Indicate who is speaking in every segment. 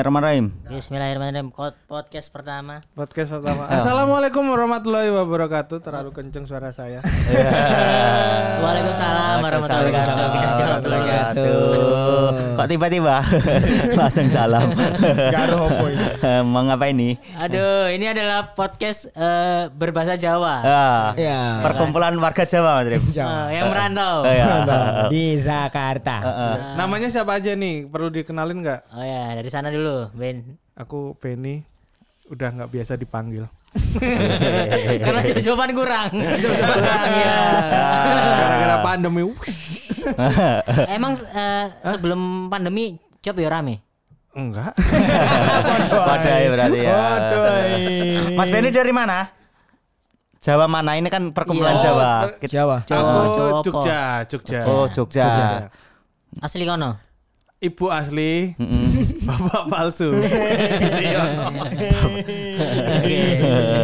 Speaker 1: Bismillahirrahmanirrahim.
Speaker 2: Nah. Bismillahirrahmanirrahim. Kot- Podcast pertama.
Speaker 3: Podcast pertama. Assalamualaikum warahmatullahi wabarakatuh. Terlalu kenceng suara saya.
Speaker 2: Waalaikumsalam warahmatullahi wabarakatuh.
Speaker 1: wabarakatuh. Kok tiba-tiba langsung salam.
Speaker 4: Gak ada hopo ini.
Speaker 1: Eh, Mau ngapain nih?
Speaker 2: Aduh, ini adalah podcast eh, berbahasa Jawa.
Speaker 1: Ah,
Speaker 4: Ya.
Speaker 1: perkumpulan warga Jawa, Mas Rif.
Speaker 2: Eh, yang merantau.
Speaker 1: Oh, ya.
Speaker 4: Di Jakarta.
Speaker 3: Namanya siapa aja nih? Perlu dikenalin nggak?
Speaker 2: Oh ya, dari sana dulu, Ben.
Speaker 3: Aku Penny. Udah nggak biasa dipanggil.
Speaker 2: Karena si jawaban kurang. kurang ya.
Speaker 3: Ah. Gara-gara pandemi. Wush.
Speaker 2: Emang eh, sebelum pandemi job ya rame.
Speaker 3: Enggak.
Speaker 1: Wadai berarti ya. Mas Benny dari mana? Jawa mana? Ini kan perkumpulan
Speaker 2: Iya.
Speaker 1: Jawa. Kita-
Speaker 4: Jawa.
Speaker 2: Jawa
Speaker 3: Aku
Speaker 2: apa?
Speaker 3: Oh, Jogja, Jogja.
Speaker 1: Oh, Jogja.
Speaker 2: Asli kono.
Speaker 3: Ibu asli, bapak palsu.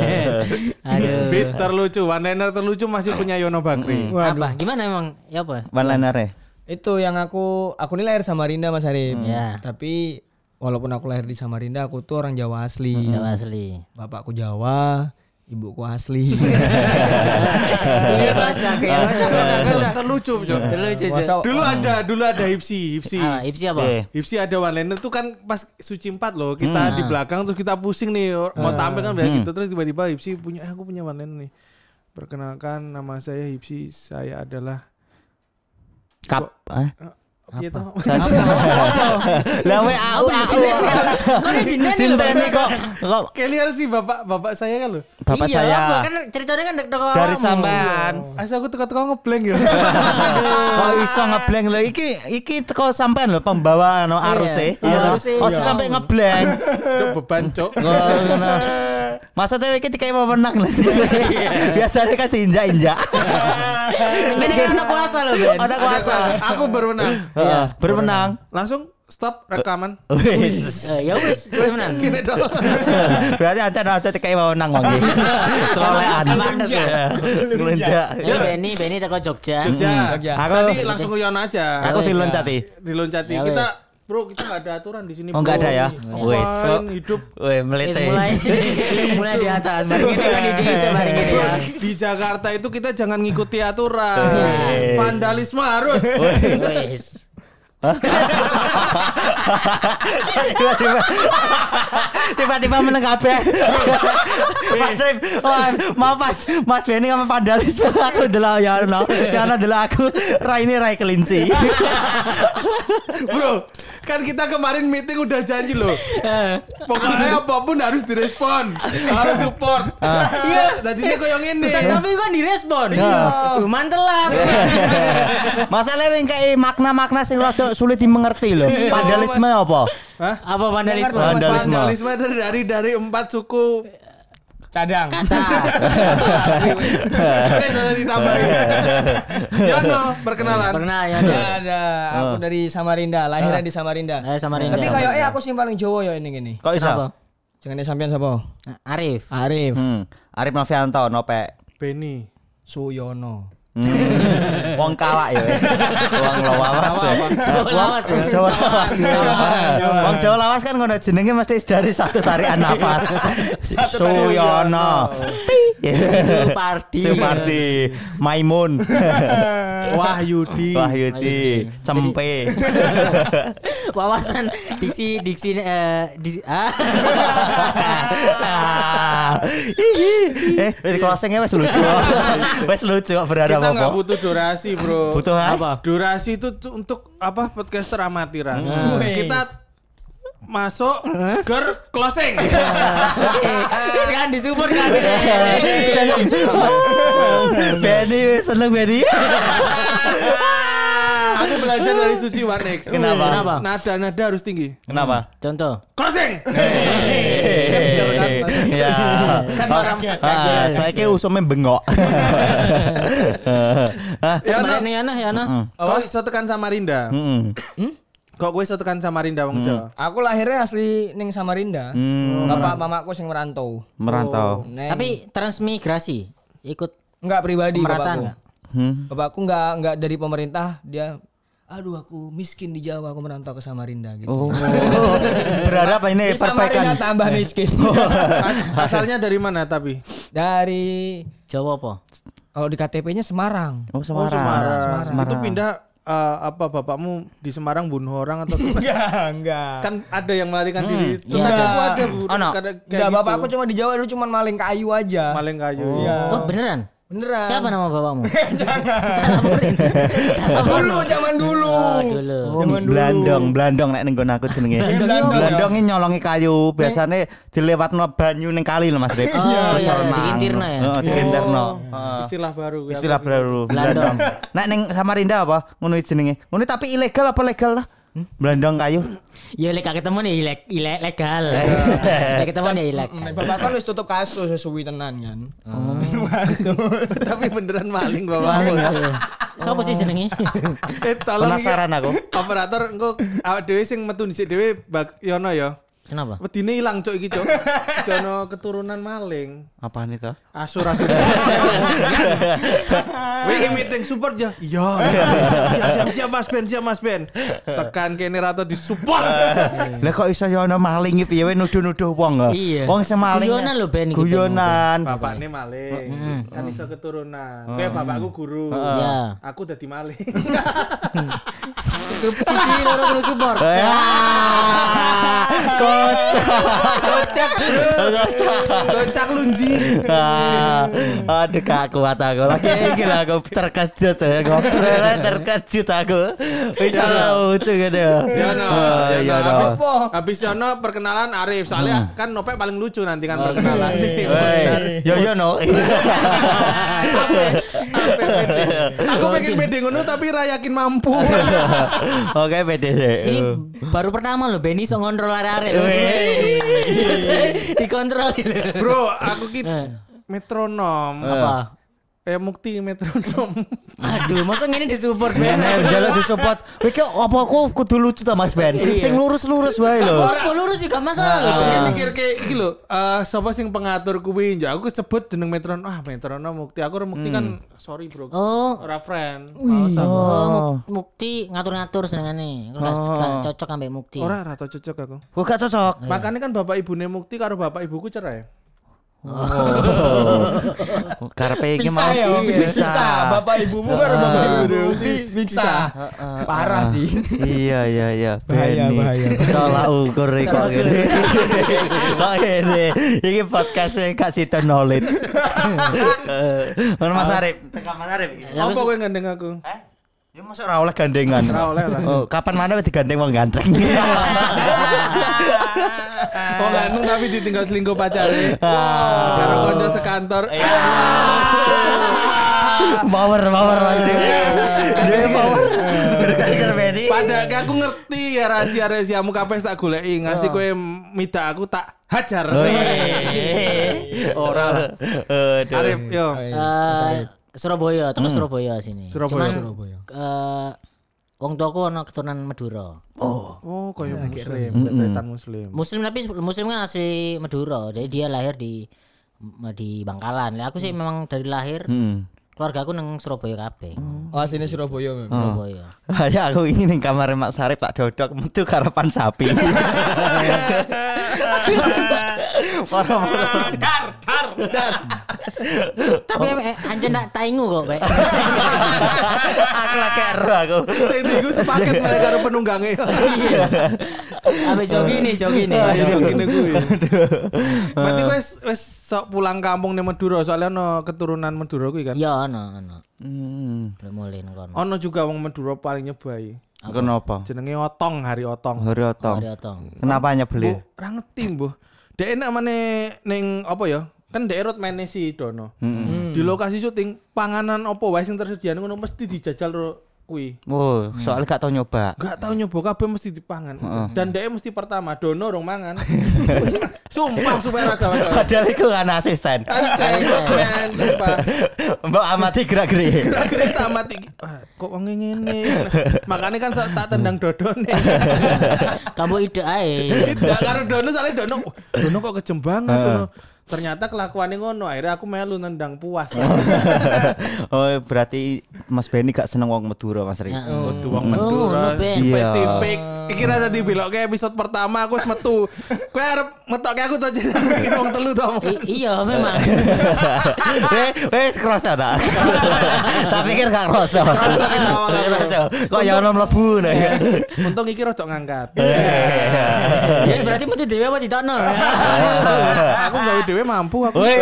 Speaker 2: Aduh.
Speaker 3: Bit terlucu, one liner terlucu masih punya Yono Bakri.
Speaker 2: Apa? Gimana emang? Ya apa?
Speaker 1: One liner ya?
Speaker 4: Itu yang aku aku ini lahir Samarinda Mas Arif.
Speaker 1: Hmm.
Speaker 2: Ya.
Speaker 4: Tapi walaupun aku lahir di Samarinda, aku tuh orang Jawa asli.
Speaker 1: Hmm.
Speaker 2: Jawa asli.
Speaker 4: Bapakku Jawa, ibuku asli.
Speaker 2: Iya. Lihat aja Iya, kayak aja.
Speaker 3: Terlucu, Terlucu, Jo.
Speaker 2: Lucu, lucu.
Speaker 4: Masa-
Speaker 3: Dulu ada, dulu ada Hipsi, Hipsi.
Speaker 2: Ah, Ipsi apa?
Speaker 1: Eh,
Speaker 3: Hipsi ada one liner tuh kan pas suci empat loh kita
Speaker 1: Hmm.
Speaker 3: di belakang terus kita pusing nih or- mau tampil kan kayak gitu terus tiba-tiba Hipsi punya "Eh, aku punya one liner nih perkenalkan nama saya Hipsi saya adalah
Speaker 1: Kap. Hah?
Speaker 3: Iya toh.
Speaker 1: Lah
Speaker 2: Oh,
Speaker 1: ah, we au au.
Speaker 2: Kok ini jenengan ini loh,
Speaker 1: Cinta ini
Speaker 2: Pak?
Speaker 1: kok kok
Speaker 3: Kalian sih bapak bapak saya kan loh.
Speaker 1: bapak
Speaker 2: Iya,
Speaker 1: saya
Speaker 2: apa? Kan ceritanya kan dek
Speaker 1: dari sampean.
Speaker 3: Asa aku teka-teka ngeblank ya.
Speaker 1: Kok iso ngeblank lho iki iki teko sampean lho pembawa no arus e. Iya toh?
Speaker 2: arus e,
Speaker 1: Ojo
Speaker 2: iya.
Speaker 1: sampe ngeblank.
Speaker 3: Cok beban cok.
Speaker 1: Masa tewe iki dikai pemenang lho.
Speaker 2: Iya.
Speaker 1: Biasanya kan diinjak-injak.
Speaker 2: Ini kan anak puasa loh, Ben.
Speaker 1: Ada kuasa.
Speaker 3: Aku berwenang.
Speaker 1: Heeh, bermenang.
Speaker 3: Langsung stop rekaman.
Speaker 1: Wis.
Speaker 2: Eh, Ya wis, wis menan.
Speaker 1: Berarti acan-acan dikai pemenang wong iki. Selolehan. Ngelunjak.
Speaker 2: Ya Beni, Beni teko Jogja.
Speaker 3: Jogja.
Speaker 4: Jogja.
Speaker 1: Aku
Speaker 3: Tadi langsung ke Yono aja.
Speaker 1: aku diloncati.
Speaker 3: Diloncati
Speaker 2: Ya,
Speaker 3: kita Bro, kita nggak ada aturan di sini.
Speaker 1: Oh enggak
Speaker 3: bro.
Speaker 1: ada ya. Wes.
Speaker 3: Apain hidup
Speaker 1: Wes
Speaker 2: Wis
Speaker 1: melete.
Speaker 2: mulai mulai di atas. Mari kita kan di hijau mari ini ya.
Speaker 1: Eh.
Speaker 3: di Jakarta itu kita jangan ngikuti aturan.
Speaker 1: Iya.
Speaker 3: Vandalisme harus.
Speaker 2: Wis.
Speaker 1: tiba-tiba tiba-tiba meneng kabeh. Mas Rip, wah, mau pas Mas Benny sama Pandalis aku delok ya no. Ya no delok aku rai ini rai kelinci.
Speaker 3: Bro, kan kita kemarin meeting udah janji loh. Pokoknya apapun harus direspon, harus support.
Speaker 1: Ah.
Speaker 3: Iya, tadinya kok yang ini.
Speaker 2: Tapi kan direspon. Cuman telat.
Speaker 1: Masalahnya yang kayak makna-makna sing rada sulit dimengerti loh. Vandalisme apa?
Speaker 3: Hah?
Speaker 2: Apa vandalisme?
Speaker 1: Vandalisme.
Speaker 3: Vandalisme itu dari dari empat suku.
Speaker 4: Cadang.
Speaker 2: Kata.
Speaker 3: Eh, sudah ditambahin. Yono, perkenalan.
Speaker 2: Pernah ya.
Speaker 4: Ya ada, aku
Speaker 1: Oh.
Speaker 4: dari Samarinda, lahirnya
Speaker 1: Ah.
Speaker 4: di Samarinda.
Speaker 2: Eh sama Rinda.
Speaker 4: Tapi kayak eh aku sih yang paling Jawa ya ini gini.
Speaker 1: Kok iso?
Speaker 2: Kenapa?
Speaker 4: Jangan sampean sapa?
Speaker 2: Arif.
Speaker 4: Arif
Speaker 1: Hmm. Arif Novianto nopek.
Speaker 3: Benny.
Speaker 4: Suyono.
Speaker 1: Hmm. Wong kawak ya. Wong lawas. ya.
Speaker 2: Jawa lawas ya.
Speaker 1: Wong Jawa lawas. Wong Jawa lawas kan ngono jenenge mesti dari satu tarikan nafas. Suyono.
Speaker 2: Supardi.
Speaker 1: Supardi, Maimun, iya.
Speaker 3: Wahyudi.
Speaker 1: Wahyudi, Cempe.
Speaker 2: Wawasan diksi diksi eh di ah.
Speaker 1: eh, wis closing-nya wis lucu. Wis lucu kok berharap
Speaker 3: Kita nggak
Speaker 1: apa?
Speaker 3: butuh durasi, bro.
Speaker 1: Butuh apa?
Speaker 3: Durasi itu tu- untuk apa podcaster amatiran.
Speaker 2: Hmm.
Speaker 4: Wes.
Speaker 3: Kita masuk ke closing.
Speaker 2: Terus kan disupport kan.
Speaker 1: Seneng. Oh, Benny wis seneng Benny.
Speaker 3: Aku belajar dari Suci Warnex.
Speaker 1: Kenapa?
Speaker 2: Kenapa?
Speaker 3: Nada-nada harus tinggi.
Speaker 1: Kenapa?
Speaker 2: Contoh.
Speaker 3: Closing.
Speaker 1: Eh, Ya.
Speaker 3: Kan marah.
Speaker 1: Ah, saya kayak usumnya bengok. Ah, Hah?
Speaker 3: Ya,
Speaker 2: Mana
Speaker 3: no.
Speaker 2: nih Yana, Yana?
Speaker 3: Kok iso tekan Samarinda?
Speaker 5: Hmm.
Speaker 1: Mm-mm.
Speaker 3: Kok gue iso tekan Samarinda wong Jawa?
Speaker 4: Aku lahirnya asli ning Samarinda.
Speaker 1: Hmm. Oh.
Speaker 4: Bapak mamaku sing merantau.
Speaker 1: Merantau.
Speaker 4: Neng.
Speaker 2: Tapi transmigrasi ikut
Speaker 4: enggak pribadi
Speaker 2: Merata
Speaker 4: bapakku.
Speaker 2: enggak?
Speaker 1: Hmm.
Speaker 4: Bapakku enggak enggak dari pemerintah, dia aduh aku miskin di Jawa aku merantau ke Samarinda gitu.
Speaker 1: Oh, berharap ini
Speaker 4: Di
Speaker 1: perbaikan.
Speaker 4: Samarinda tambah miskin.
Speaker 5: Eh, Oh. As- asalnya dari mana tapi?
Speaker 4: Dari
Speaker 2: Jawa apa?
Speaker 4: kalau di KTP-nya Semarang.
Speaker 1: Oh Semarang.
Speaker 5: Semarang.
Speaker 2: Ah.
Speaker 5: Itu pindah eh, apa bapakmu di Semarang bunuh orang atau
Speaker 4: Enggak, enggak.
Speaker 5: kan ada yang melarikan diri
Speaker 2: iya.
Speaker 5: tetangga aku ada bu
Speaker 1: Oh, no.
Speaker 5: Kada- kayak
Speaker 4: Enggak,
Speaker 5: gitu.
Speaker 4: bapak aku cuma di Jawa dulu cuma maling kayu aja.
Speaker 5: maling kayu
Speaker 4: Iya.
Speaker 2: Oh beneran?
Speaker 4: Beneran.
Speaker 2: Siapa nama bapakmu?
Speaker 4: dulu zaman dulu.
Speaker 2: Oh, dulu.
Speaker 1: Oh, blandong, blandong nek ning nggon aku jenenge.
Speaker 4: blandong, ya.
Speaker 1: Blandong ini nyolongi kayu, biasane dilewatno banyu ning kali lho Mas Rip.
Speaker 2: Oh, iya, Oh,
Speaker 1: Terus
Speaker 2: iya.
Speaker 1: renang.
Speaker 2: Diintirno ya?
Speaker 1: Heeh, diintirno. Heeh.
Speaker 5: istilah baru aku
Speaker 1: Istilah
Speaker 5: ingat.
Speaker 1: baru blandong. Nek ning Samarinda apa? Ngono jenenge. Ngono tapi ilegal apa legal lah?
Speaker 2: Hmm?
Speaker 1: Blandong kayu.
Speaker 2: Ya lek ketemu nih ilek ilek legal. Lek ketemu nih ilek.
Speaker 4: Nah, Bapak kan wis tutup kasus sesuwi tenan kan.
Speaker 2: Ah.
Speaker 5: tapi beneran maling bapak aku
Speaker 2: Eh, Siapa sih jenenge?
Speaker 5: eh tolong
Speaker 1: Penasaran
Speaker 5: iki,
Speaker 1: aku.
Speaker 5: operator engko awak dhewe sing metu dhisik dhewe bak yono ya
Speaker 2: Kenapa?
Speaker 5: wedine ilang cok iki cok jono keturunan maling
Speaker 1: Apaan itu?
Speaker 5: asur asur Wih meeting support ya iya siap siap siap mas Ben siap mas Ben tekan kene rata di support
Speaker 1: Lah kok iso yo ana maling iki piye we nuduh-nuduh wong kok.
Speaker 2: Iya.
Speaker 1: Wong sing maling.
Speaker 2: Guyonan lho, Ben, iki, Ben.
Speaker 1: Guyonan.
Speaker 5: bapaknya maling kan iso keturunan kayak
Speaker 2: Ah.
Speaker 5: bapakku guru
Speaker 2: Iya.
Speaker 5: aku dadi maling
Speaker 4: Subsidi loro kudu support.
Speaker 1: Ah, Kocak.
Speaker 5: kocak kocak lunji
Speaker 1: Ah, aduh gak kuat aku lagi iki lah aku terkejut ya ngobrol terkejut aku bisa lucu gitu
Speaker 5: Ya Iya, no,
Speaker 1: Ah,
Speaker 5: ya
Speaker 1: ya
Speaker 5: no.
Speaker 1: no.
Speaker 5: Habis,
Speaker 2: Oh.
Speaker 5: habis Yono perkenalan Arif soalnya
Speaker 2: Ah.
Speaker 5: kan Nopek paling lucu nanti kan perkenalan.
Speaker 1: Woi,
Speaker 5: Iya,
Speaker 1: yo yo no
Speaker 5: Aku pengen pede ngono tapi ra yakin mampu.
Speaker 1: oke pede sih.
Speaker 2: Ini baru pertama loh Benny so ngontrol arek-arek.
Speaker 1: Wih.
Speaker 2: Biasanya Dikontrol.
Speaker 5: Bro, aku ki
Speaker 2: Eh.
Speaker 5: metronom.
Speaker 2: Apa?
Speaker 5: Eh mukti metronom.
Speaker 2: Aduh, masa ngene disupport Ben?
Speaker 1: Bener jalan di support. Wih, kok apa aku kudu lucu ta Mas Ben?
Speaker 5: Iya.
Speaker 1: Sing lurus-lurus wae lho.
Speaker 2: Apa lurus sih gak masalah loh.
Speaker 5: Aku
Speaker 2: Ben.
Speaker 5: mikir kayak iki lho, eh sapa sing pengatur kuwi? Ya aku sebut jeneng metronom. Ah, metronom mukti. Aku ora mukti kan sorry, Bro.
Speaker 2: Oh,
Speaker 5: Ora friend. Males aku.
Speaker 2: Oh, Muk- Mukti ngatur-ngatur senengane. Kalau
Speaker 5: Oh.
Speaker 2: gak- gak cocok ambek Mukti.
Speaker 5: Ora ra tau cocok aku.
Speaker 1: Kok gak cocok?
Speaker 5: Makanya kan bapak ibune Mukti karo bapak ibuku cerai.
Speaker 1: Oh. Karepe iki mau
Speaker 5: ya,
Speaker 4: bisa. ya, Bapak ibumu kan bapak ibumu bisa. Parah sih.
Speaker 1: iya iya iya
Speaker 4: Bahaya, bahaya.
Speaker 1: tolak ukur iki kok ngene kok ngene iki podcast e gak sida knowledge ngono Mas Arif tekan Mas Arif iki
Speaker 2: Lah,
Speaker 5: Apa
Speaker 2: wis-
Speaker 5: kowe ngandeng aku?
Speaker 1: Eh, ya masa ora oleh gandengan
Speaker 5: Ora oleh lah.
Speaker 1: oh kapan mana digandeng wong ganteng
Speaker 5: Oh ganteng tapi ditinggal selingkuh pacarnya. Karo
Speaker 1: Oh,
Speaker 5: konco sekantor.
Speaker 1: iya. power power Mas Arif dia power berkader Benny
Speaker 5: Pada aku ngerti ya rahasia rahasiamu kapes tak goleki ngasih kowe mita aku tak hajar.
Speaker 1: ora aduh
Speaker 5: Arif yo.
Speaker 2: Eh, Surabaya, teko Surabaya sini.
Speaker 5: Hmm. Surabaya.
Speaker 2: Cuman, eh, wong tuaku ana keturunan Madura.
Speaker 5: Oh koyo muslim, keturunan muslim.
Speaker 2: Muslim tapi muslim kan asli Madura. Jadi dia lahir di di Bangkalan. Lah aku sih memang dari lahir keluarga aku nang Surabaya kabeh.
Speaker 4: Oh, aslinya Surabaya. Mem.
Speaker 2: Surabaya.
Speaker 1: Ya aku ini nih kamar Mak Sarip tak dodok metu karapan sapi. Parah-parah.
Speaker 2: Tapi eh, anjen tak taingu kok, Pak.
Speaker 1: aku lagi ero aku.
Speaker 5: Saya itu sepaket mereka karo penunggange.
Speaker 2: Ambek jogi nih, jogi nih.
Speaker 5: Ayo gini kuwi. Berarti kowe wis- wis sok pulang kampung ning Madura soalnya ono keturunan Madura kuwi kan.
Speaker 2: Ya ana ana. Lek mulih nang kono.
Speaker 5: Ono juga wong Madura paling nyebai.
Speaker 1: Kenapa?
Speaker 5: Jenenge Otong, Hari Otong.
Speaker 1: Hari otong.
Speaker 2: Mari otong.
Speaker 1: Kenapa nyebeli?
Speaker 5: Bu, ora ngerti, Bu. Dek enak mana ning apa ya? Kan dek road mana si Dono. Hmm. Di lokasi syuting panganan opo wae sing tersedia ngono mesti dijajal ro kuwi.
Speaker 1: Oh, soalnya gak tau nyoba.
Speaker 5: Gak tau nyoba kabeh mesti dipangan. Dan dek e mesti pertama Dono rong mangan. Sumpah supaya rada wae.
Speaker 1: Padahal iku kan asisten.
Speaker 5: Hashtag, man, sumpah.
Speaker 1: Mbok amati gerak-gerik.
Speaker 5: Akhirnya tak mati. Wah, kok wong ngene. Makanya kan sok tak tendang Dodone.
Speaker 2: Kamu ide ae.
Speaker 5: Tidak karo Dono soalnya Dono. "Wah, Dono kok kejem banget Dono. ternyata kelakuannya ngono akhirnya aku melu nendang puas
Speaker 1: oh berarti Mas Benny gak seneng wong Madura Mas Rif.
Speaker 2: Heeh.
Speaker 5: Tuh wong
Speaker 2: ngono,
Speaker 5: Madura
Speaker 2: Oh, Ben.
Speaker 5: spesifik. Iki rasa dibilok ke episode pertama aku wis metu. Kowe arep metokke aku to jeneng iki wong telu to.
Speaker 2: I- iya memang
Speaker 1: Weh, weh kerasa tak? Tak pikir gak kerasa.
Speaker 5: Kerasa kita awal.
Speaker 1: Kerasa. Kok ya ono mlebu nah. ya?
Speaker 5: Untung iki rodok ngangkat.
Speaker 1: Iya.
Speaker 2: ya berarti metu dhewe apa ditokno
Speaker 5: aku gawe dhewe mampu aku.
Speaker 1: Weh.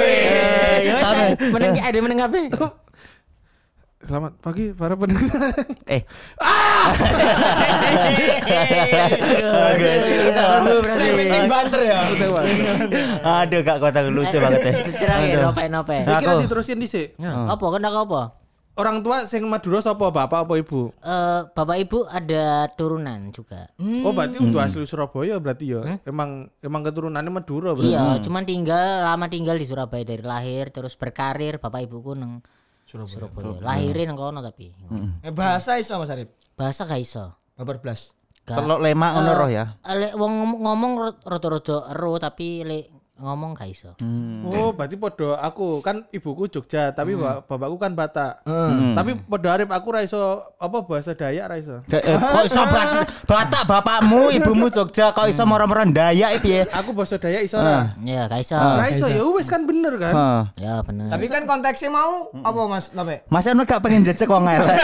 Speaker 2: ya wis
Speaker 1: Tapi-
Speaker 2: meneng ki ada meneng kabeh
Speaker 5: Selamat pagi para pendengar.
Speaker 1: Eh. Bagus. Aduh, berarti.
Speaker 4: penting banter ya.
Speaker 1: Aduh, gak kota lucu banget ya. Nah.
Speaker 2: Terakhir nope nope.
Speaker 5: Iki
Speaker 1: Aku.
Speaker 5: nanti terusin dhisik.
Speaker 2: Apa kan aku apa?
Speaker 5: Orang tua sing Madura sapa bapak apa ibu?
Speaker 2: Eh bapak ibu ada turunan juga.
Speaker 5: Oh berarti untuk asli Surabaya berarti ya. Emang emang keturunannya Madura berarti.
Speaker 1: Hmm.
Speaker 2: Iya, cuman tinggal lama tinggal di Surabaya dari lahir terus berkarir bapak ibuku neng Surabaya. Hmm. Lahirin neng kono tapi.
Speaker 1: Hmm.
Speaker 4: Eh, Bahasa iso Mas Arif.
Speaker 2: Bahasa gak iso.
Speaker 4: Babar blas.
Speaker 2: Gak-
Speaker 1: Telok lemak ngono roh ya.
Speaker 2: Eh, lek wong ngom- ngomong ro- rodo-rodo ero tapi lek ngomong gak iso.
Speaker 1: Hmm.
Speaker 5: Oh, berarti podo aku kan ibuku Jogja, tapi ba- bapakku kan Batak.
Speaker 1: Hmm.
Speaker 5: Tapi podo arep aku ra iso apa bahasa Dayak ra iso.
Speaker 1: Eh, eh, Kok iso bat- batak bapakmu, ibumu Jogja kok iso moro-moro ndayak piye?
Speaker 5: Aku bahasa Dayak iso
Speaker 1: Heeh.
Speaker 5: ra.
Speaker 2: Ya, gak iso.
Speaker 5: Ah.
Speaker 1: Ah.
Speaker 5: Ra iso ya wis kan bener kan.
Speaker 1: Heeh.
Speaker 2: Ya bener.
Speaker 4: Tapi kan konteksnya mau apa Mas Nope?
Speaker 1: Mas Anu gak pengen jejek wong elek.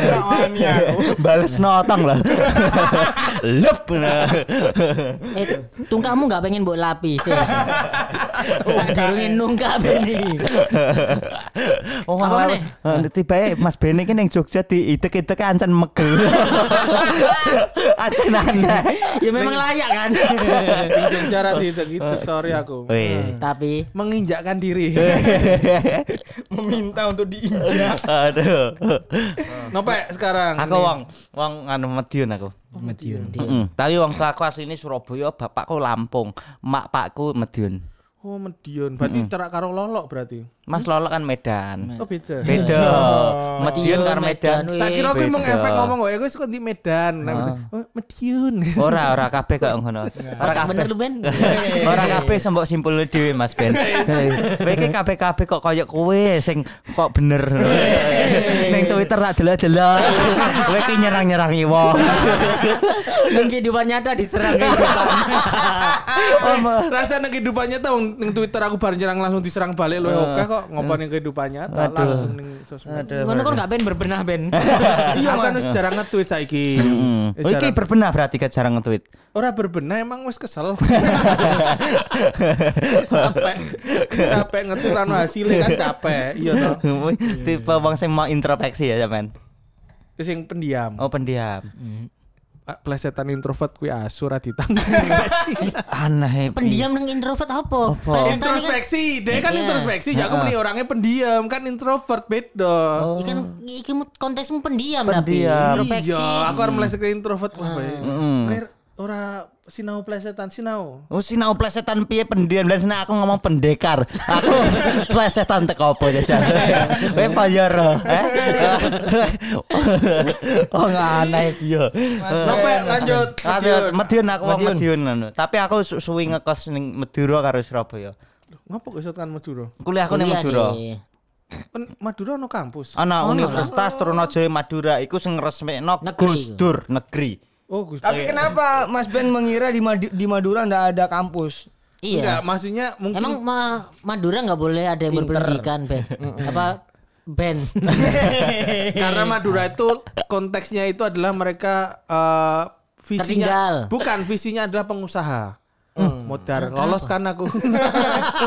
Speaker 4: Ora wani
Speaker 1: Iya.
Speaker 4: aku.
Speaker 1: Bales notong loh. Lep. nah.
Speaker 2: eh, tungkamu gak pengen mbok lapis ya. Sadurunge nungkak beni.
Speaker 1: Oh,
Speaker 2: Apa
Speaker 1: malah-
Speaker 2: meneh?
Speaker 1: Eh, tiba Mas Beni ki ning Jogja diidek-idek ancen megel. Ancen aneh.
Speaker 2: ya memang layak kan.
Speaker 5: Eh, Di Jogja ra gitu gitu sorry aku.
Speaker 1: Weh.
Speaker 2: tapi
Speaker 5: Menginjakkan diri.
Speaker 1: Eh.
Speaker 4: Meminta untuk diinjak.
Speaker 1: Aduh.
Speaker 5: Nopek sekarang.
Speaker 1: Aku wong wong anu Madiun aku.
Speaker 2: Medion.
Speaker 1: Mm-mm. Tapi wong tua aku asline Surabaya, bapakku Lampung, mak pakku Madiun.
Speaker 5: Oh, Medion. Berarti
Speaker 1: Hmm.
Speaker 5: cerak karo lolok berarti.
Speaker 1: Mas Lolo kan Medan.
Speaker 5: Oh, beda.
Speaker 1: Beda. Medion karo Medan.
Speaker 2: Medan,
Speaker 5: Tak kira
Speaker 1: Beda.
Speaker 5: aku
Speaker 1: Ah.
Speaker 5: emang efek ngomong wae aku suka di Medan. Oh, Medion.
Speaker 1: Ora ora kabeh kok ngono. Ora
Speaker 2: Kocak bener lu Ben.
Speaker 1: Ora kabeh sembok simpul dhewe Mas Ben. Kowe iki kabeh-kabeh kok koyo kowe sing kok bener. Ning Twitter tak delok-delok. Kowe iki nyerang-nyerangi wong.
Speaker 2: Dan kehidupan nyata diserang gitu. kehidupan.
Speaker 5: Rasanya kehidupannya tau ning Twitter aku bareng nyerang langsung diserang balik lu oke kok ngopain yang kehidupannya tak
Speaker 1: Aduh.
Speaker 5: langsung ning sosmed.
Speaker 2: Ngono kan gak ben berbenah ben.
Speaker 5: Iya aku kan wis jarang nge-tweet saiki.
Speaker 1: Hmm.
Speaker 5: Wis
Speaker 1: Oh, iki
Speaker 5: jarang.
Speaker 1: berbenah berarti gak jarang nge-tweet.
Speaker 5: Ora berbenah emang wis kesel. Wis capek. Capek nge-tweet anu hasilnya kan capek. Iya toh.
Speaker 1: Tipe wong sing mau introspeksi ya sampean.
Speaker 5: Wis yang pendiam.
Speaker 1: Oh, pendiam.
Speaker 5: Ah, Plesetan introvert kuwi asu ra ditanggung.
Speaker 1: Aneh.
Speaker 2: Pendiam nang introvert apa?
Speaker 1: Apa?
Speaker 2: Presentasi kan
Speaker 5: introspeksi, dia kan
Speaker 2: Iya.
Speaker 5: introspeksi, ya aku
Speaker 1: Ha-ha.
Speaker 5: meni orangnya pendiam, kan introvert beda.
Speaker 2: iki kan iki mu- konteksmu pendiam tapi
Speaker 1: Pendiam.
Speaker 2: introspeksi.
Speaker 5: Iya, aku harus meleset ke introvert. Wah, baik.
Speaker 1: Mm.
Speaker 5: Kayak ora sinau plesetan sinau.
Speaker 1: Oh sinau plesetan piye pendiam dan sinau aku ngomong pendekar. Aku plesetan teko apa jajan. Kowe payoro, eh? Oh aneh piye.
Speaker 2: Eh,
Speaker 5: Nope,
Speaker 2: iya,
Speaker 1: Lanjut
Speaker 5: lanjut. Lanjut.
Speaker 1: Madiun aku wong Madiun anu. Tapi aku su- suwi ngekos ning Madura karo Surabaya.
Speaker 5: Ngapa kok isokan Madura?
Speaker 1: Kuliahku ning
Speaker 2: Kuliah
Speaker 1: Madura.
Speaker 2: deh.
Speaker 5: Kan Madura ono
Speaker 2: Ah.
Speaker 5: kampus.
Speaker 1: Ana Universitas Trunojoyo Madura iku sing ngresmekno
Speaker 2: Negeri
Speaker 1: Gus
Speaker 2: iku.
Speaker 1: Dur negeri.
Speaker 5: Oh, Gus.
Speaker 2: Iya.
Speaker 4: Tapi kenapa Mas Ben mengira di, Madi- di Madura ndak ada kampus?
Speaker 2: Iya.
Speaker 5: Enggak, maksudnya mungkin
Speaker 2: Emang ma- Madura nggak boleh ada yang berpendidikan Ben. Apa Ben?
Speaker 5: karena Madura itu konteksnya itu adalah mereka eh, visinya
Speaker 2: Tertinggal. Hmm.
Speaker 5: bukan visinya adalah pengusaha. Modar lolos kan aku.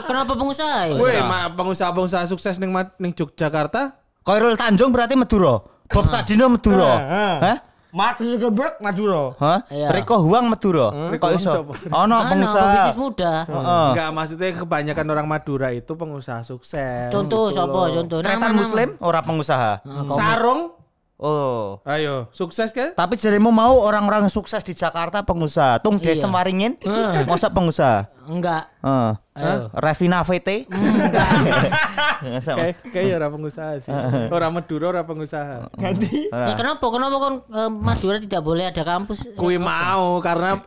Speaker 2: Kenapa pengusaha? ya?
Speaker 5: Woi, ma- pengusaha-pengusaha sukses ning Ma- ning Yogyakarta.
Speaker 1: Koirul Tanjung berarti Madura. Bob
Speaker 2: Ah.
Speaker 1: Sadino Madura. Hah?
Speaker 4: Mark Zuckerberg Madura.
Speaker 1: Hah?
Speaker 2: Iya.
Speaker 1: Riko Huang Madura.
Speaker 5: Hmm. Riko
Speaker 1: Kok
Speaker 5: Huang
Speaker 1: iso?
Speaker 5: siapa?
Speaker 1: Ana
Speaker 2: Mana
Speaker 1: pengusaha. Oh,
Speaker 2: bisnis muda. Ah.
Speaker 1: Heeh.
Speaker 5: Enggak, maksudnya kebanyakan orang Madura itu pengusaha sukses.
Speaker 2: Contoh
Speaker 5: Gitu
Speaker 2: siapa?
Speaker 5: loh.
Speaker 2: Contoh.
Speaker 1: Tretan
Speaker 2: Nama-nama.
Speaker 1: muslim ora pengusaha.
Speaker 5: Sarung.
Speaker 1: Oh.
Speaker 5: Ayo, sukses ke?
Speaker 1: Tapi jarimu mau orang-orang sukses di Jakarta pengusaha. Tung
Speaker 2: Iya.
Speaker 1: desa waringin masa pengusaha.
Speaker 2: Enggak.
Speaker 1: Heeh.
Speaker 2: Ayo.
Speaker 1: Revina VT. Nggak sama.
Speaker 5: Kayak kayak orang pengusaha sih. Orang Madura orang pengusaha.
Speaker 4: Ganti.
Speaker 5: Nah,
Speaker 2: Ya, kenapa? Kenapa kan eh, Madura tidak boleh ada kampus?
Speaker 5: Kui mau karena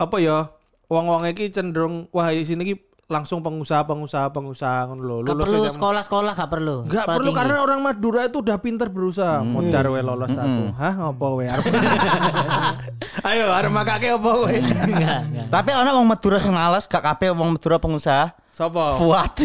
Speaker 5: apa ya? uang-uang iki cenderung wah di sini iki langsung pengusaha-pengusaha pengusaha ngono lho.
Speaker 2: Gak
Speaker 5: Lulus
Speaker 2: perlu
Speaker 5: SMA.
Speaker 2: sekolah-sekolah gak perlu. Sekolah
Speaker 5: Gak perlu
Speaker 2: tinggi.
Speaker 5: karena orang Madura itu udah pinter berusaha. Modar we lolos aku. Hah, apa we? Arep- Ayo arep makake apa we?
Speaker 2: Enggak, enggak.
Speaker 1: Tapi ana wong Madura sing males, gak kabeh wong Madura pengusaha.
Speaker 5: Sopo?
Speaker 1: Fuad.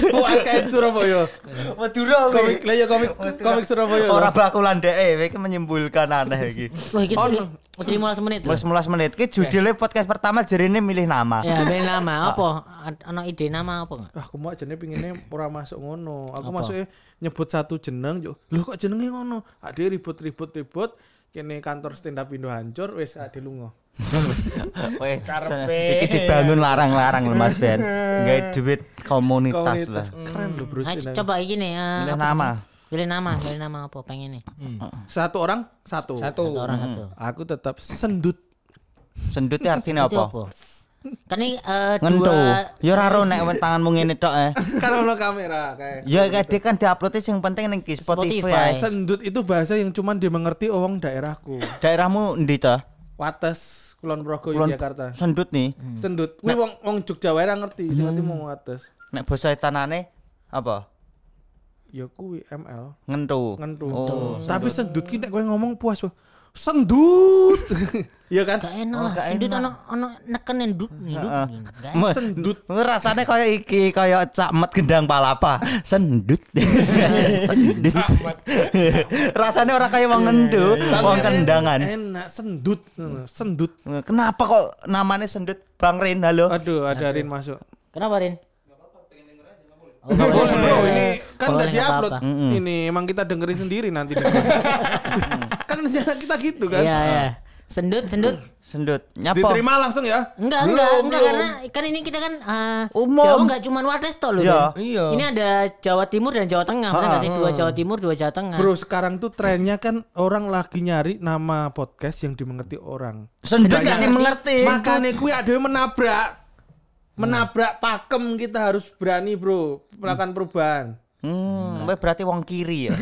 Speaker 5: Fuad kae Surabaya.
Speaker 1: Madura
Speaker 5: Komik lah ya komik komik Surabaya.
Speaker 1: Ora bakulan dhek, eh, iki menyimpulkan aneh iki.
Speaker 2: Wah, iki sudah masih 15 menit loh.
Speaker 1: Wis 11 menit. Ki judule podcast pertama jerine milih nama.
Speaker 2: Ya, ben nama apa? Ad- Ana ide nama apa enggak?
Speaker 5: Ah, aku mau jenenge pinginnya ora masuk ngono. Aku masuknya nyebut satu jeneng, yo. Lho kok jenenge ngono? Ade ribut-ribut ribut kene kantor stand up Indo hancur wis ah, ade lunga.
Speaker 1: Weh, iki dibangun larang-larang lho Mas Ben. Gawe duit komunitas lah.
Speaker 5: Komunitas keren lho Bro
Speaker 2: Ayo Nah,
Speaker 5: stand up.
Speaker 2: coba iki nih. eh,
Speaker 1: Milih
Speaker 2: apa
Speaker 1: nama.
Speaker 2: sih? Pilih nama, pilih nama apa pengen nih?
Speaker 5: Satu orang satu.
Speaker 2: Satu
Speaker 4: Satu.
Speaker 2: orang satu.
Speaker 5: Aku tetap sendut.
Speaker 1: Sendutnya artinya
Speaker 2: Itu
Speaker 1: apa?
Speaker 2: Kan ini eh,
Speaker 1: Ngentu.
Speaker 2: dua
Speaker 1: Ya ora ro nek tanganmu ngene tok eh.
Speaker 5: Karena ono kamera kayak.
Speaker 1: Ya kadhe kan diupload sing penting ning Ki
Speaker 2: Spotify.
Speaker 1: Spotify. ae.
Speaker 5: Sendut itu bahasa yang cuman dimengerti orang daerahku.
Speaker 1: Daerahmu ndi ta?
Speaker 5: Wates Kulon Progo
Speaker 1: Kulon- Hmm. Nah.
Speaker 5: Yogyakarta.
Speaker 1: Sendut nih.
Speaker 5: Sendut. Kuwi wong wong Jogja wae ra ngerti, sing
Speaker 1: Hmm.
Speaker 5: ngerti mau wates.
Speaker 1: Nek basa tanane apa?
Speaker 5: Ya kuwi ML.
Speaker 1: Ngentu.
Speaker 5: ngentu.
Speaker 1: Oh.
Speaker 5: Tapi sendut ki nek kowe ngomong puas, Bro. Sendut. Iya kan?
Speaker 2: gak enak lah.
Speaker 1: gak
Speaker 2: Sendut
Speaker 1: enak.
Speaker 2: ana ana nekenin dut nih. dut, nih. Gak enak.
Speaker 5: Sendut.
Speaker 1: Rasanya kaya iki, kaya cakmet gendang palapa. Sendut. Sendut. Rasanya orang kaya wong ngendu, wong kendangan.
Speaker 5: Enak sendut, Ngono, sendut.
Speaker 1: Kenapa kok namanya sendut Bang Rin? Halo.
Speaker 5: Aduh, ada Rin masuk.
Speaker 2: Kenapa Rin? Oh,
Speaker 5: Nggak boleh, bro.
Speaker 2: boleh.
Speaker 5: Ini kan
Speaker 2: Boleh,
Speaker 5: udah
Speaker 2: nggak
Speaker 5: diupload.
Speaker 2: apa-apa.
Speaker 5: Ini emang kita dengerin sendiri nanti. kan sejarah kita gitu kan.
Speaker 2: Iya, iya. Sendut, sendut.
Speaker 1: Sendut. Nyapa?
Speaker 5: Diterima langsung ya.
Speaker 2: Enggak,
Speaker 5: Belum,
Speaker 2: enggak, enggak
Speaker 5: belum.
Speaker 2: karena kan ini kita kan eh,
Speaker 1: Umum.
Speaker 2: Jawa enggak cuma Wates tok loh.
Speaker 1: Iya.
Speaker 2: Rin.
Speaker 4: Iya.
Speaker 2: Ini ada Jawa Timur dan Jawa Tengah, benar nggak sih? Dua Jawa Timur, dua Jawa Tengah.
Speaker 5: Bro sekarang tuh trennya kan orang lagi nyari nama podcast yang dimengerti orang.
Speaker 1: Sendut
Speaker 5: Banyak
Speaker 1: gak dimengerti.
Speaker 5: Makanya kuwi ada yang menabrak. Nah. Menabrak pakem kita harus berani, Bro. Melakukan perubahan.
Speaker 1: Hmm, kowe berarti wong kiri ya.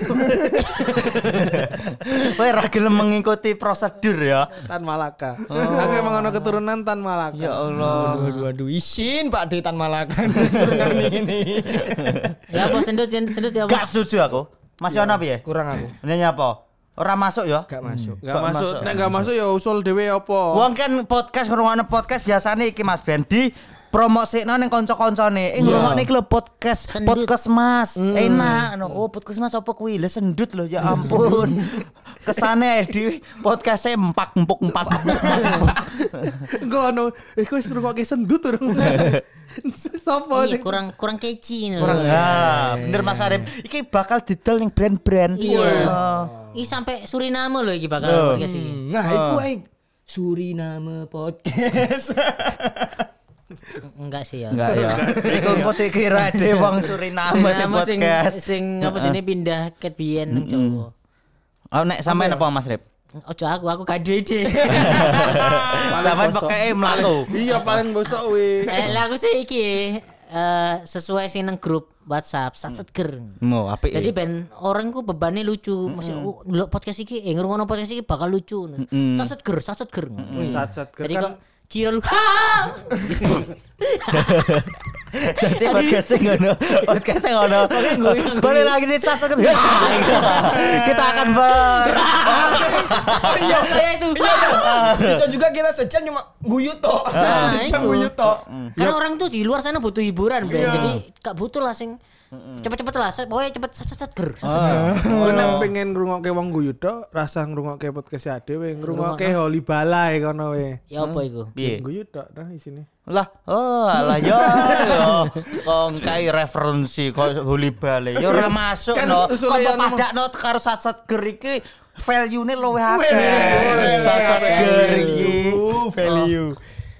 Speaker 1: Kowe ra gelem mengikuti prosedur ya.
Speaker 5: Tan Malaka. Aku emang ono keturunan Tan Malaka.
Speaker 1: Ya Allah.
Speaker 4: Waduh, waduh, isin Pak Detan Malakan. Turunan ini.
Speaker 2: Ya apa sendut, sendut, sendut ya
Speaker 1: Gak
Speaker 2: apa?
Speaker 1: setuju aku. Masih ono piye?
Speaker 4: Kurang aku.
Speaker 1: Ini nyapa? Orang masuk ya?
Speaker 4: Gak masuk.
Speaker 5: Gak masuk. Nek gak masuk ya usul dhewe apa?
Speaker 1: Wong kan podcast ngrungokno podcast biasane iki Mas Bendi promosikno ning kanca-kancane. Eh ngrungokne iki lho podcast,
Speaker 2: Sendut. Hmm.
Speaker 1: podcast Mas. Enak no. Oh, podcast Mas apa kuwi? Lah sendut lho ya ampun. Kesane di podcast empak empuk empak.
Speaker 5: Enggak ono. Eh kowe wis ngrungokke sendut urung.
Speaker 4: Nah,
Speaker 5: Sopo?
Speaker 2: Iya, kurang kurang keci nih.
Speaker 1: Kurang
Speaker 2: loh.
Speaker 1: ah, bener Mas Arif. Iki bakal didol ning brand-brand.
Speaker 2: Iya.
Speaker 1: Oh.
Speaker 2: Ini sampai Suriname loh iki bakal
Speaker 1: Loh.
Speaker 2: podcast iki.
Speaker 4: Nah, itu aing Suriname podcast.
Speaker 2: Enggak sih ya.
Speaker 1: Enggak ya. Iku engko dikira de wong Suriname sing
Speaker 2: Suriname sing
Speaker 1: podcast. Hmm.
Speaker 2: sing apa sini pindah ke Bien nang Jawa.
Speaker 1: Oh nek sampean apa Mas Rip?
Speaker 2: Ojo aku, aku gak duwe ide.
Speaker 1: Sampean pokoknya mlaku.
Speaker 5: Iya paling bosok we.
Speaker 2: Eh, lah aku sih iki eh, sesuai sih nang grup WhatsApp, sat seger.
Speaker 1: Mau apik.
Speaker 2: Jadi ben orang ku bebannya lucu, maksudnya oh, ndelok podcast iki, eh ngrungokno podcast iki bakal lucu. Sat seger, sat seger.
Speaker 5: Sat-sat
Speaker 2: Jadi
Speaker 5: kan
Speaker 2: kok Cil, ha!
Speaker 1: Jadi podcast yang ngono, podcast yang ngono. Boleh lagi di sasa kan? Kita akan ber.
Speaker 2: Iya, saya itu.
Speaker 4: Iya. Bisa juga kita sejam cuma guyu tok.
Speaker 2: Nah,
Speaker 4: Sejam
Speaker 2: itu.
Speaker 4: guyu tok. Iya.
Speaker 2: Karena orang tuh di luar sana butuh hiburan, Ben. Jadi gak butuh lah sing cepet-cepet lah, Set- pokoknya cepet sat sat sat ger. sat, sat, ger.
Speaker 5: Kowe nek pengen ngrungokke wong guyu tok, rasa ngrungokke podcast ya dhewe, ngrungokke Holy Balai kono we.
Speaker 2: Ya apa iku?
Speaker 1: Piye?
Speaker 5: Guyu tok nah isine.
Speaker 1: Lah, oh, lah yo, yo. Kong kai referensi kok huli bale. Yo ora masuk
Speaker 5: Kan
Speaker 1: no. Kok
Speaker 5: usulnya
Speaker 1: mbok
Speaker 5: yang ngomong-
Speaker 1: padakno karo sat-sat ger iki value-ne luwih akeh.
Speaker 4: Weh,
Speaker 1: Sat-sat ger iki. Oh.
Speaker 4: Value, value.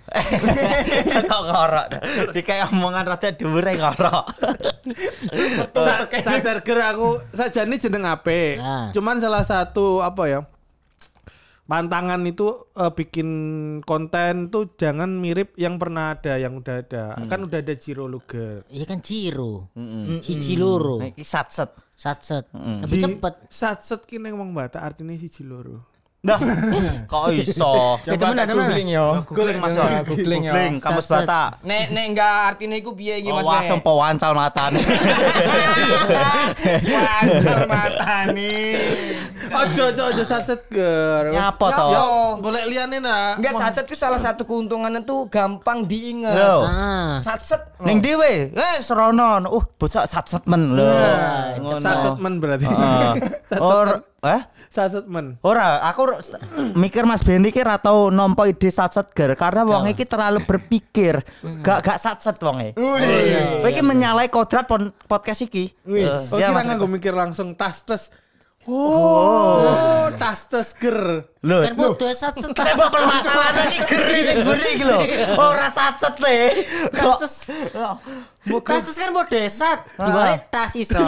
Speaker 1: Kok ngorok. Dikai omongan rada dhuwure ngorok.
Speaker 5: Sa- Sajar ger aku sajane jeneng apik.
Speaker 2: Nah.
Speaker 5: Cuman salah satu apa ya? Pantangan itu eh, bikin konten tuh jangan mirip yang pernah ada, yang udah ada. Kan udah ada Jiro Luger.
Speaker 2: Iya kan Ciro. Siji loro.
Speaker 1: Iki sat-sat.
Speaker 2: Sat set. Lebih cepet.
Speaker 5: Satset ki ning wong Batak artine siji loro.
Speaker 1: Nah, kok iso?
Speaker 2: Ya,
Speaker 5: Eh,
Speaker 2: temen, temen.
Speaker 4: googling yo.
Speaker 1: Googling Mas. Yo.
Speaker 4: Googling, yo.
Speaker 1: Googling kamus
Speaker 2: Set, set.
Speaker 1: bata.
Speaker 4: Nek nek enggak artine iku piye iki
Speaker 1: Oh,
Speaker 4: Mas?
Speaker 1: wah,
Speaker 4: Nek?
Speaker 1: sempo wancal matane.
Speaker 4: Wancel matane.
Speaker 5: Ojo ojo ojo sacet ger.
Speaker 1: Nyapa to?
Speaker 4: Yo.
Speaker 5: Golek liyane nak.
Speaker 4: Enggak satset itu salah satu keuntungannya tuh gampang diingat.
Speaker 1: Lho.
Speaker 2: Ah,
Speaker 4: Satset
Speaker 1: Ning dhewe, eh seronon. Uh, bocah satset men lho.
Speaker 4: Iya,
Speaker 1: Ngono.
Speaker 5: Sacet men berarti.
Speaker 1: Heeh. Or eh
Speaker 5: Sacet men.
Speaker 1: Ora, aku r- mikir Mas Benny ki ra tau nampa ide satset ger karena
Speaker 4: Iya.
Speaker 1: wong iki terlalu berpikir.
Speaker 4: Mm.
Speaker 1: Gak gak satset wonge. Kowe
Speaker 4: Iya,
Speaker 1: iki menyalahi kodrat pon- podcast iki.
Speaker 5: Wis.
Speaker 1: Eh,
Speaker 5: Oh,
Speaker 1: ya,
Speaker 5: kira
Speaker 1: Mas.
Speaker 5: nganggo mikir langsung tas tes. Oh, tas tes ger.
Speaker 1: Lho,
Speaker 2: kan podo sat sat
Speaker 1: Saya mau permasalahan ini geri nih guri gitu loh. Ora satset le. Kok
Speaker 2: Terus tas terus kan podo sat, dua tas iso.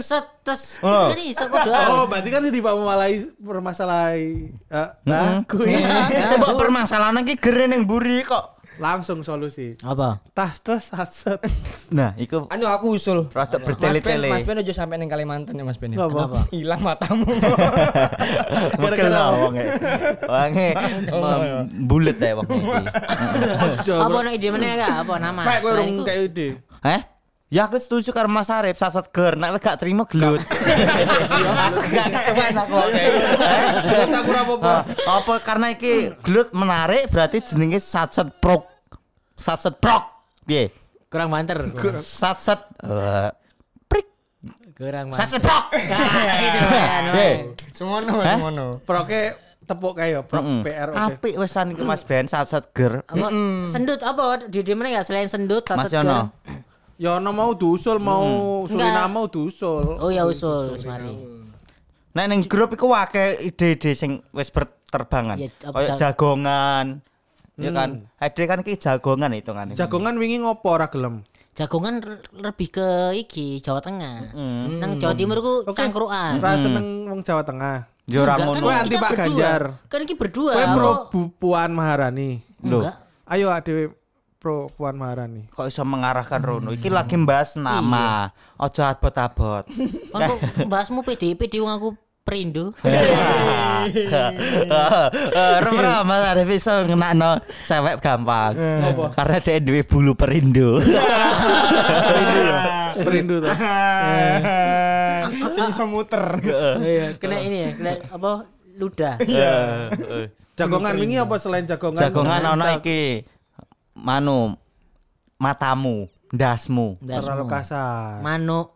Speaker 2: Set tes.
Speaker 1: Ah. Oh.
Speaker 2: Jadi iso podo.
Speaker 5: Oh, berarti kan tidak mau malai permasalahi eh, aku ya.
Speaker 1: saya mau hmm. permasalahan ini geri ning buri kok.
Speaker 5: Langsung solusi.
Speaker 2: Apa?
Speaker 5: Tas tes sacet.
Speaker 1: Nah, iku
Speaker 4: Anu aku usul.
Speaker 1: rada
Speaker 4: Mas Ben, Mas
Speaker 1: bertele-tele.
Speaker 4: Ben aja sampai neng Kalimantan ya Mas Ben. ya.
Speaker 5: Kenapa?
Speaker 4: Hilang matamu.
Speaker 1: Mungkin lah wonge. Wonge mem- bulet ya e. wonge iki.
Speaker 5: Ojo.
Speaker 2: Apa ana ide meneh gak? Apa nama?
Speaker 5: Pak, kowe
Speaker 2: Selain
Speaker 5: rung
Speaker 2: iku.
Speaker 5: kayak ide.
Speaker 1: Heh? Eh? Ya aku setuju karo Mas Arif sasat ger, nek gak terima gelut. aku gak kesuwen aku oke. Eh,
Speaker 5: Gelut aku ora apa-apa.
Speaker 1: Apa karena iki gelut menarik berarti jenenge satset prok. Satset prok. Piye?
Speaker 2: Kurang banter.
Speaker 1: Satset eh, prik.
Speaker 2: Kurang banter.
Speaker 1: Satset prok.
Speaker 2: Nah, gitu kan.
Speaker 1: Eh,
Speaker 4: Semono,
Speaker 1: Hah?
Speaker 4: semono.
Speaker 5: Proke tepuk kayak ya, prok PR oke.
Speaker 1: Hmm. apik wesan iki Mas Ben satset ger.
Speaker 2: Apa sendut apa di di mana gak selain sendut sat
Speaker 1: Mas
Speaker 2: set
Speaker 1: Yono.
Speaker 5: Ya ono mau dusul mau Suriname mau dusul.
Speaker 2: Oh ya usul wis mari.
Speaker 1: Nek ning grup iku akeh ide-ide sing wis berterbangan.
Speaker 2: Ya, apa
Speaker 1: Kayak
Speaker 2: jag-
Speaker 1: jagongan. Ya kan. Ide kan iki jagongan hitungane.
Speaker 5: Jagongan wingi ngopo ora gelem.
Speaker 2: Jagongan re- lebih ke iki Jawa Tengah. Nang Jawa Timur ku cangkruan.
Speaker 5: Ora seneng wong Jawa Tengah.
Speaker 1: Yo Ya, ora
Speaker 2: Enggak, kan
Speaker 1: ngono.
Speaker 2: kita
Speaker 5: anti Pak
Speaker 2: berdua.
Speaker 5: Ganjar.
Speaker 2: Kan iki berdua.
Speaker 5: Kowe
Speaker 2: apa-
Speaker 5: pro Bu Puan Maharani.
Speaker 1: Lho,
Speaker 2: Enggak.
Speaker 5: Ayo adewe pro Puan Maharani.
Speaker 1: kok iso mengarahkan Rono? Iki lagi bahas nama.
Speaker 2: Iya.
Speaker 1: Ojo abot-abot.
Speaker 2: Kan kok bahasmu PDP di wong aku Perindo.
Speaker 1: Rom-rom Mas Arif iso ngenakno cewek gampang. Karena dia duwe bulu perindu.
Speaker 2: Ah.
Speaker 5: Perindu to.
Speaker 4: Sini semuter.
Speaker 2: Kena ini ya, kena apa ludah.
Speaker 1: Eh, eh.
Speaker 5: Jagongan wingi apa selain jagongan?
Speaker 1: Jagongan ana iki. Manu matamu, ndasmu.
Speaker 2: Hmm.
Speaker 5: terlalu kasar.
Speaker 2: Manuk.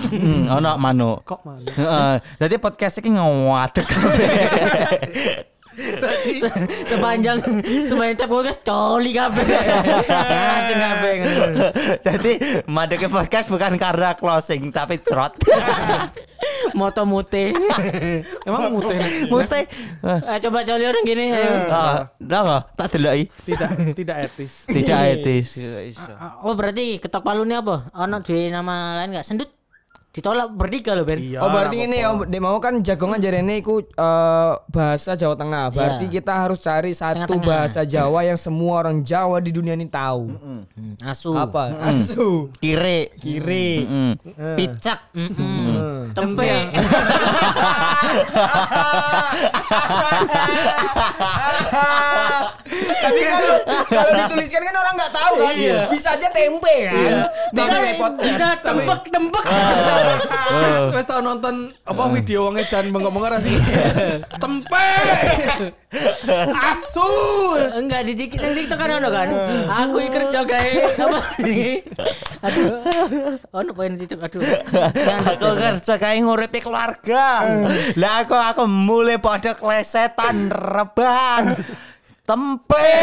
Speaker 1: Hmm, ana manu.
Speaker 5: Kok man.
Speaker 1: Heeh. Jadi podcast ini ngawatek
Speaker 2: Se- sepanjang sepanjang tiap podcast coli kabeh. Anjing kabeh.
Speaker 1: Jadi madeke podcast bukan karena closing tapi cerot.
Speaker 2: Moto mute.
Speaker 5: Emang mute.
Speaker 1: Mute. Eh,
Speaker 2: Eh, coba coli orang gini. ayo.
Speaker 1: ah, Ndak nggak? tak deloki.
Speaker 5: Tidak tidak etis.
Speaker 1: Tidak
Speaker 5: Iya,
Speaker 1: etis.
Speaker 2: Oh berarti ketok palu ini apa? Ono duwe nama lain gak? Sendut ditolak bertiga loh Ben.
Speaker 4: Oh berarti ini ya, dia mau kan jagongan jarene iku eh, bahasa Jawa Tengah. Berarti
Speaker 2: Iya.
Speaker 4: kita harus cari satu
Speaker 2: Tengah-tengah.
Speaker 4: bahasa Jawa yang semua orang Jawa di dunia ini tahu.
Speaker 2: Hmm, Asu.
Speaker 4: Apa? Asu.
Speaker 1: Kiri.
Speaker 4: Kiri.
Speaker 1: Mm.
Speaker 2: Picak. Mm-mm. Tempe.
Speaker 4: Tapi kalau kalau dituliskan kan orang nggak tahu kan. Bisa aja tempe kan.
Speaker 2: Iya.
Speaker 4: Bisa repot.
Speaker 2: Bisa tembek tembek.
Speaker 5: Wes wes tau nonton apa video wong dan bengok-bengok rasih. Tempe. Asul.
Speaker 2: Enggak di TikTok nang TikTok kan ono kan. Aku iki kerja gawe apa ini? Aduh. Ono poin di TikTok aduh. Nah, kan Jangan
Speaker 1: Aku
Speaker 2: deket.
Speaker 1: kerja kayak ngurupi keluarga. Lah aku aku mulai pada klesetan reban. Tempe.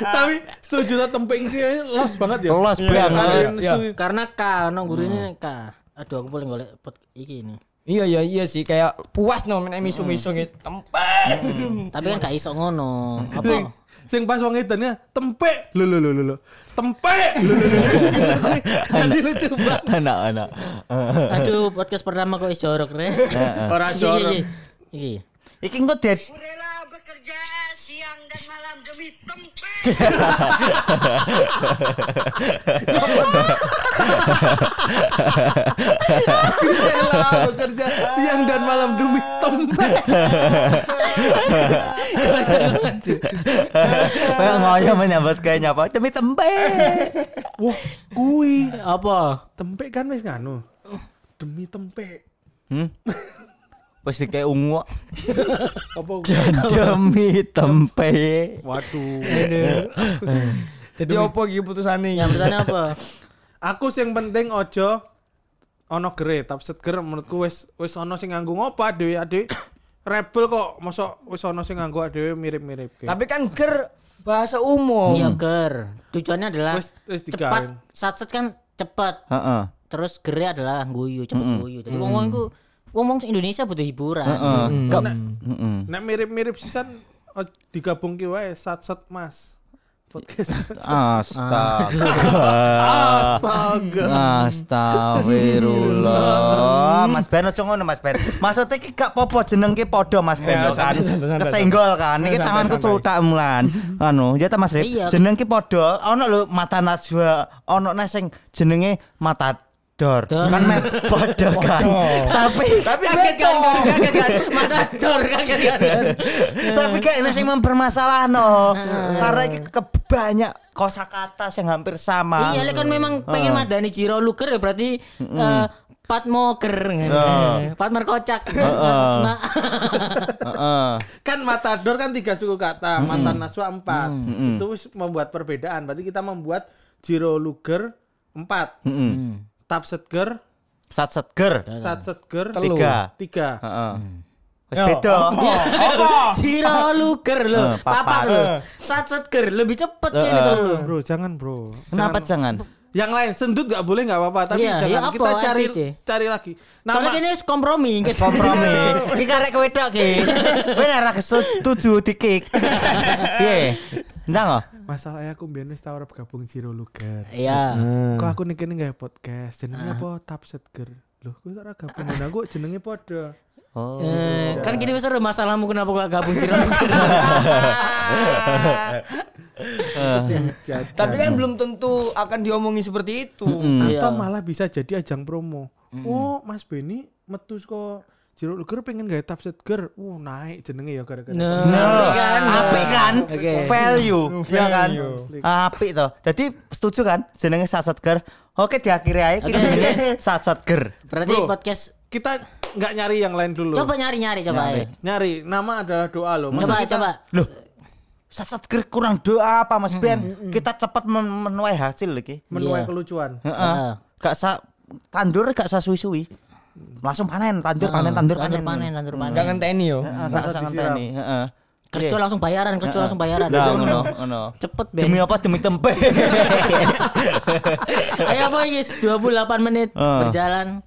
Speaker 5: Tapi setuju tak tempe iki los banget ya.
Speaker 1: Los
Speaker 5: Iya,
Speaker 1: banget.
Speaker 5: kalian
Speaker 1: Iya.
Speaker 5: setuju.
Speaker 2: Karena K ono gurine K. Aduh aku paling golek pot iki ini.
Speaker 4: Iya iya iya sih kayak puas no main misu-misu gitu. Tempe.
Speaker 2: Tapi kan gak iso ngono. Apa?
Speaker 5: Sing pas wong edannya tempe. Lho lho lho lho, lho. Tempe. Lho lho lho, lho. Nanti lu coba.
Speaker 1: Anak-anak.
Speaker 2: Aduh podcast pertama kok is jorok re.
Speaker 5: Ora
Speaker 2: Iki,
Speaker 5: jorok.
Speaker 2: iki, Iki.
Speaker 1: Iki engko dadi
Speaker 6: Rela bekerja siang dan malam demi tempe.
Speaker 5: Rela bekerja siang dan malam demi tempe.
Speaker 1: Kayak ngoyo menyambut kayak nyapa demi tempe.
Speaker 5: Wah, kui
Speaker 2: Apa?
Speaker 5: tempe kan wis nganu.
Speaker 4: Oh.
Speaker 5: Demi tempe.
Speaker 1: Hmm? Wis kayak ungu.
Speaker 5: Apa?
Speaker 1: Demi tempe.
Speaker 5: Waduh.
Speaker 4: Jadi opo iki putusane iki?
Speaker 2: Yang pesannya apa?
Speaker 5: Aku sing penting ojo ono gere tapi seger menurutku wis wis ono sing nganggo ngopa dhewe adik. Rebel kok mosok wis ono sing nganggo dhewe mirip-mirip.
Speaker 4: Tapi kan ger bahasa umum.
Speaker 2: Iya ger. Tujuannya adalah
Speaker 5: Wis- wis
Speaker 2: cepat.
Speaker 5: digawe.
Speaker 2: Satset kan cepat.
Speaker 1: Heeh.
Speaker 2: Terus gere adalah guyu, cepet guyu. Jadi wong-wong iku wong-wong Indonesia butuh hiburan.
Speaker 1: Heeh. Kok Heeh.
Speaker 5: Nek mirip-mirip sisan o- digabungke wae sat-sat Mas. Podcast.
Speaker 1: Astaga.
Speaker 5: Astaga.
Speaker 1: Astagfirullah. Mas Ben ojo ngono Mas Ben. Maksudnya iki gak popo jenengke padha Mas Ben lho
Speaker 4: Ya,
Speaker 1: kan.
Speaker 4: santai, santai, santai,
Speaker 1: Kesenggol kan. Iki
Speaker 4: Santai,
Speaker 1: tanganku
Speaker 4: santai.
Speaker 1: celutak mulan. Anu, ya ta Mas Rip.
Speaker 2: Iya.
Speaker 1: Jenengke padha ono lho mata Najwa, ono neh sing jenenge mata Dor. Kan meh padha kan. Tapi
Speaker 4: Tapi
Speaker 2: Kaget
Speaker 4: beto.
Speaker 2: kan, Ger? kaget kan. Mata dor kaget kan.
Speaker 1: tapi kayaknya sing mempermasalah no karena iki kebanyak kosakata yang hampir sama
Speaker 2: Iya, lek kan memang pengen madani Jiro Luger ya berarti eh, Patmo ger. Patmer kocak. Ma-
Speaker 1: Heeh.
Speaker 5: kan matador kan tiga suku kata, mantan naswa empat. Itu wis membuat perbedaan. Berarti kita membuat Jiro Luger empat, Tap Setger,
Speaker 1: sat setger
Speaker 5: Sat Setger,
Speaker 1: Telu. Tiga. Hmm.
Speaker 5: tiga.
Speaker 1: Heeh. wis
Speaker 4: Yo,
Speaker 1: beda oh,
Speaker 2: Jiro Luger lho,
Speaker 1: Eh, papat.
Speaker 2: papat lho. Satset ger lebih cepet ini kalau lho.
Speaker 5: Bro, jangan bro.
Speaker 1: kenapa jangan
Speaker 5: Yang lain sendut nggak boleh nggak apa-apa. Tapi
Speaker 2: Iya,
Speaker 5: jangan
Speaker 2: iya,
Speaker 5: kita
Speaker 2: apa,
Speaker 5: cari
Speaker 2: asik deh.
Speaker 5: cari lagi.
Speaker 2: Soalnya kan-
Speaker 5: Nama
Speaker 2: ini kompromi.
Speaker 1: Wis kompromi iki karek kowe tok iki kowe ora kesetuju dikik piye oh? ndang kok
Speaker 5: masalahnya aku biar wis tau arep gabung Jiro Luger.
Speaker 2: Iya. Ah.
Speaker 5: Kok aku nih nggak podcast, jenengnya apa Tap Setger. Loh, gue ora gabung Nah, aku jenenge podo.
Speaker 1: oh
Speaker 2: Eh, kan gini besar masalahmu kenapa gak gabung Jiro Luger.
Speaker 4: Tapi kan belum tentu akan diomongin seperti itu.
Speaker 2: Iya.
Speaker 5: atau malah bisa jadi ajang promo. Oh, Mas Beni metu kok Jero Luger pengen gawe tap setger. Uh, naik jenenge ya gara-gara.
Speaker 1: Nah,
Speaker 2: kan?
Speaker 1: apik kan?
Speaker 2: Oke.
Speaker 1: Value, ya kan?
Speaker 4: Value.
Speaker 1: Apik toh. Jadi setuju kan? Jenenge Sasatger. Oke diakhiri aja kita jenenge Sasatger.
Speaker 2: Berarti
Speaker 5: Bro.
Speaker 2: podcast
Speaker 5: Kita nggak nyari yang lain dulu.
Speaker 2: coba Nah, nyari-nyari coba ya.
Speaker 5: Nyari nama adalah doa loh. Masa
Speaker 2: Coba
Speaker 5: kita-
Speaker 2: coba.
Speaker 1: Loh, Sasatger kurang doa apa Mas Ben? Kita cepat men- menuai hasil lagi.
Speaker 5: menuai
Speaker 2: Iya.
Speaker 5: kelucuan.
Speaker 1: Heeh.
Speaker 2: Heeh.
Speaker 1: Gak sa tandur gak sa suwi-suwi. Langsung panen, tandur panen, tandur panen.
Speaker 2: panen, tandur panen.
Speaker 4: Jangan TNI yo.
Speaker 5: Nah.
Speaker 1: Heeh, gak usah ngenteni, heeh. Iya.
Speaker 2: Kerja langsung bayaran, kerja langsung bayaran.
Speaker 1: Nah, ngono, ngono.
Speaker 2: Cepet Ben. Iya.
Speaker 1: Demi apa? Demi tempe.
Speaker 2: Ayo apa guys, 28 menit
Speaker 1: Ah.
Speaker 2: berjalan.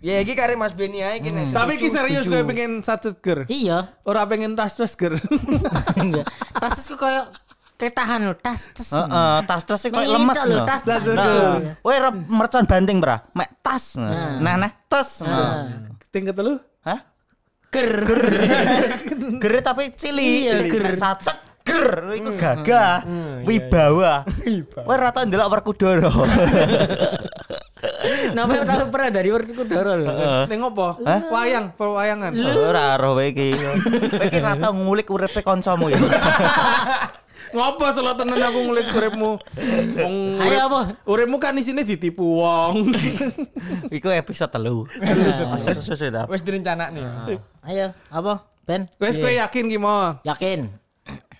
Speaker 4: Ya iki kare Mas Beni ae iki nek
Speaker 5: Tapi
Speaker 4: setuju,
Speaker 5: ki serius
Speaker 4: setuju.
Speaker 5: gue pengen sat setger.
Speaker 2: Iya.
Speaker 5: Ora pengen tas setger.
Speaker 2: Enggak. Tasesku koyo ketahan loh, tas tas.
Speaker 1: Heeh, tas-tas sih Ah. kayak
Speaker 2: Mengincok
Speaker 1: lemes
Speaker 2: loh,
Speaker 1: no.
Speaker 2: tas Iya. tas.
Speaker 1: Nah, Weh rep mercon banting bra, mek tas.
Speaker 2: Nah.
Speaker 1: Nah nah tas.
Speaker 2: Ah.
Speaker 1: Nah.
Speaker 5: Ting ketelu.
Speaker 1: Hah?
Speaker 2: Ger.
Speaker 1: Ger tapi cili.
Speaker 2: Iya, ger.
Speaker 1: Nek sacet ger iku gagah. Wibawa. Weh ra tau ndelok Werkudara.
Speaker 2: Namanya taruh pernah dari Werkudara loh.
Speaker 5: Ning opo? Wayang, perwayangan.
Speaker 1: Ora roh kowe iki. Kowe iki ra tau ngulik uripe kancamu ya.
Speaker 5: Ngopo selo tenan aku ngulik uripmu. Wong
Speaker 2: Ayo,
Speaker 5: urip-
Speaker 2: apa?
Speaker 5: Uripmu kan isine ditipu wong.
Speaker 1: Iku episode 3. Aja sesuai ta.
Speaker 4: wis
Speaker 5: Ah.
Speaker 4: direncanakne.
Speaker 2: Ayo, apa? Ben,
Speaker 5: Wes kowe
Speaker 4: Iya.
Speaker 5: yakin ki mau?
Speaker 2: yakin.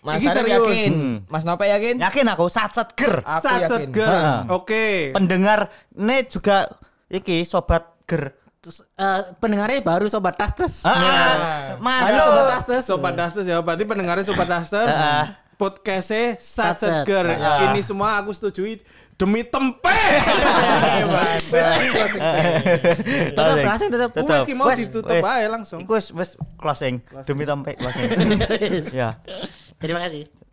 Speaker 4: Mas
Speaker 5: Iki
Speaker 4: Arif
Speaker 5: serius. Mm. Ya,
Speaker 4: yakin. Mas Napa yakin?
Speaker 1: Yakin aku sacet ger.
Speaker 4: Aku
Speaker 5: Sat
Speaker 4: yakin.
Speaker 1: Heeh.
Speaker 5: setger. Oke.
Speaker 1: Pendengar ne juga iki sobat ger.
Speaker 2: Terus eh, pendengarnya baru sobat tas tas.
Speaker 1: Ah,
Speaker 2: Ayo
Speaker 1: masuk.
Speaker 2: sobat tas tas.
Speaker 5: Sobat Dasters ya, berarti pendengarnya Sobat Dasters.
Speaker 1: Heeh.
Speaker 5: Podcastnya Sat
Speaker 2: Satset.
Speaker 5: Seger.
Speaker 1: Heeh.
Speaker 5: Ini semua aku setujui demi tempe.
Speaker 2: Tetap
Speaker 1: Closing.
Speaker 2: langsung, tetap.
Speaker 5: Wes, ki mau
Speaker 1: Wes,
Speaker 5: ditutup
Speaker 1: wes.
Speaker 5: aja langsung.
Speaker 1: Iku wes wes closing demi tempe closing. Ya.
Speaker 2: Terima kasih.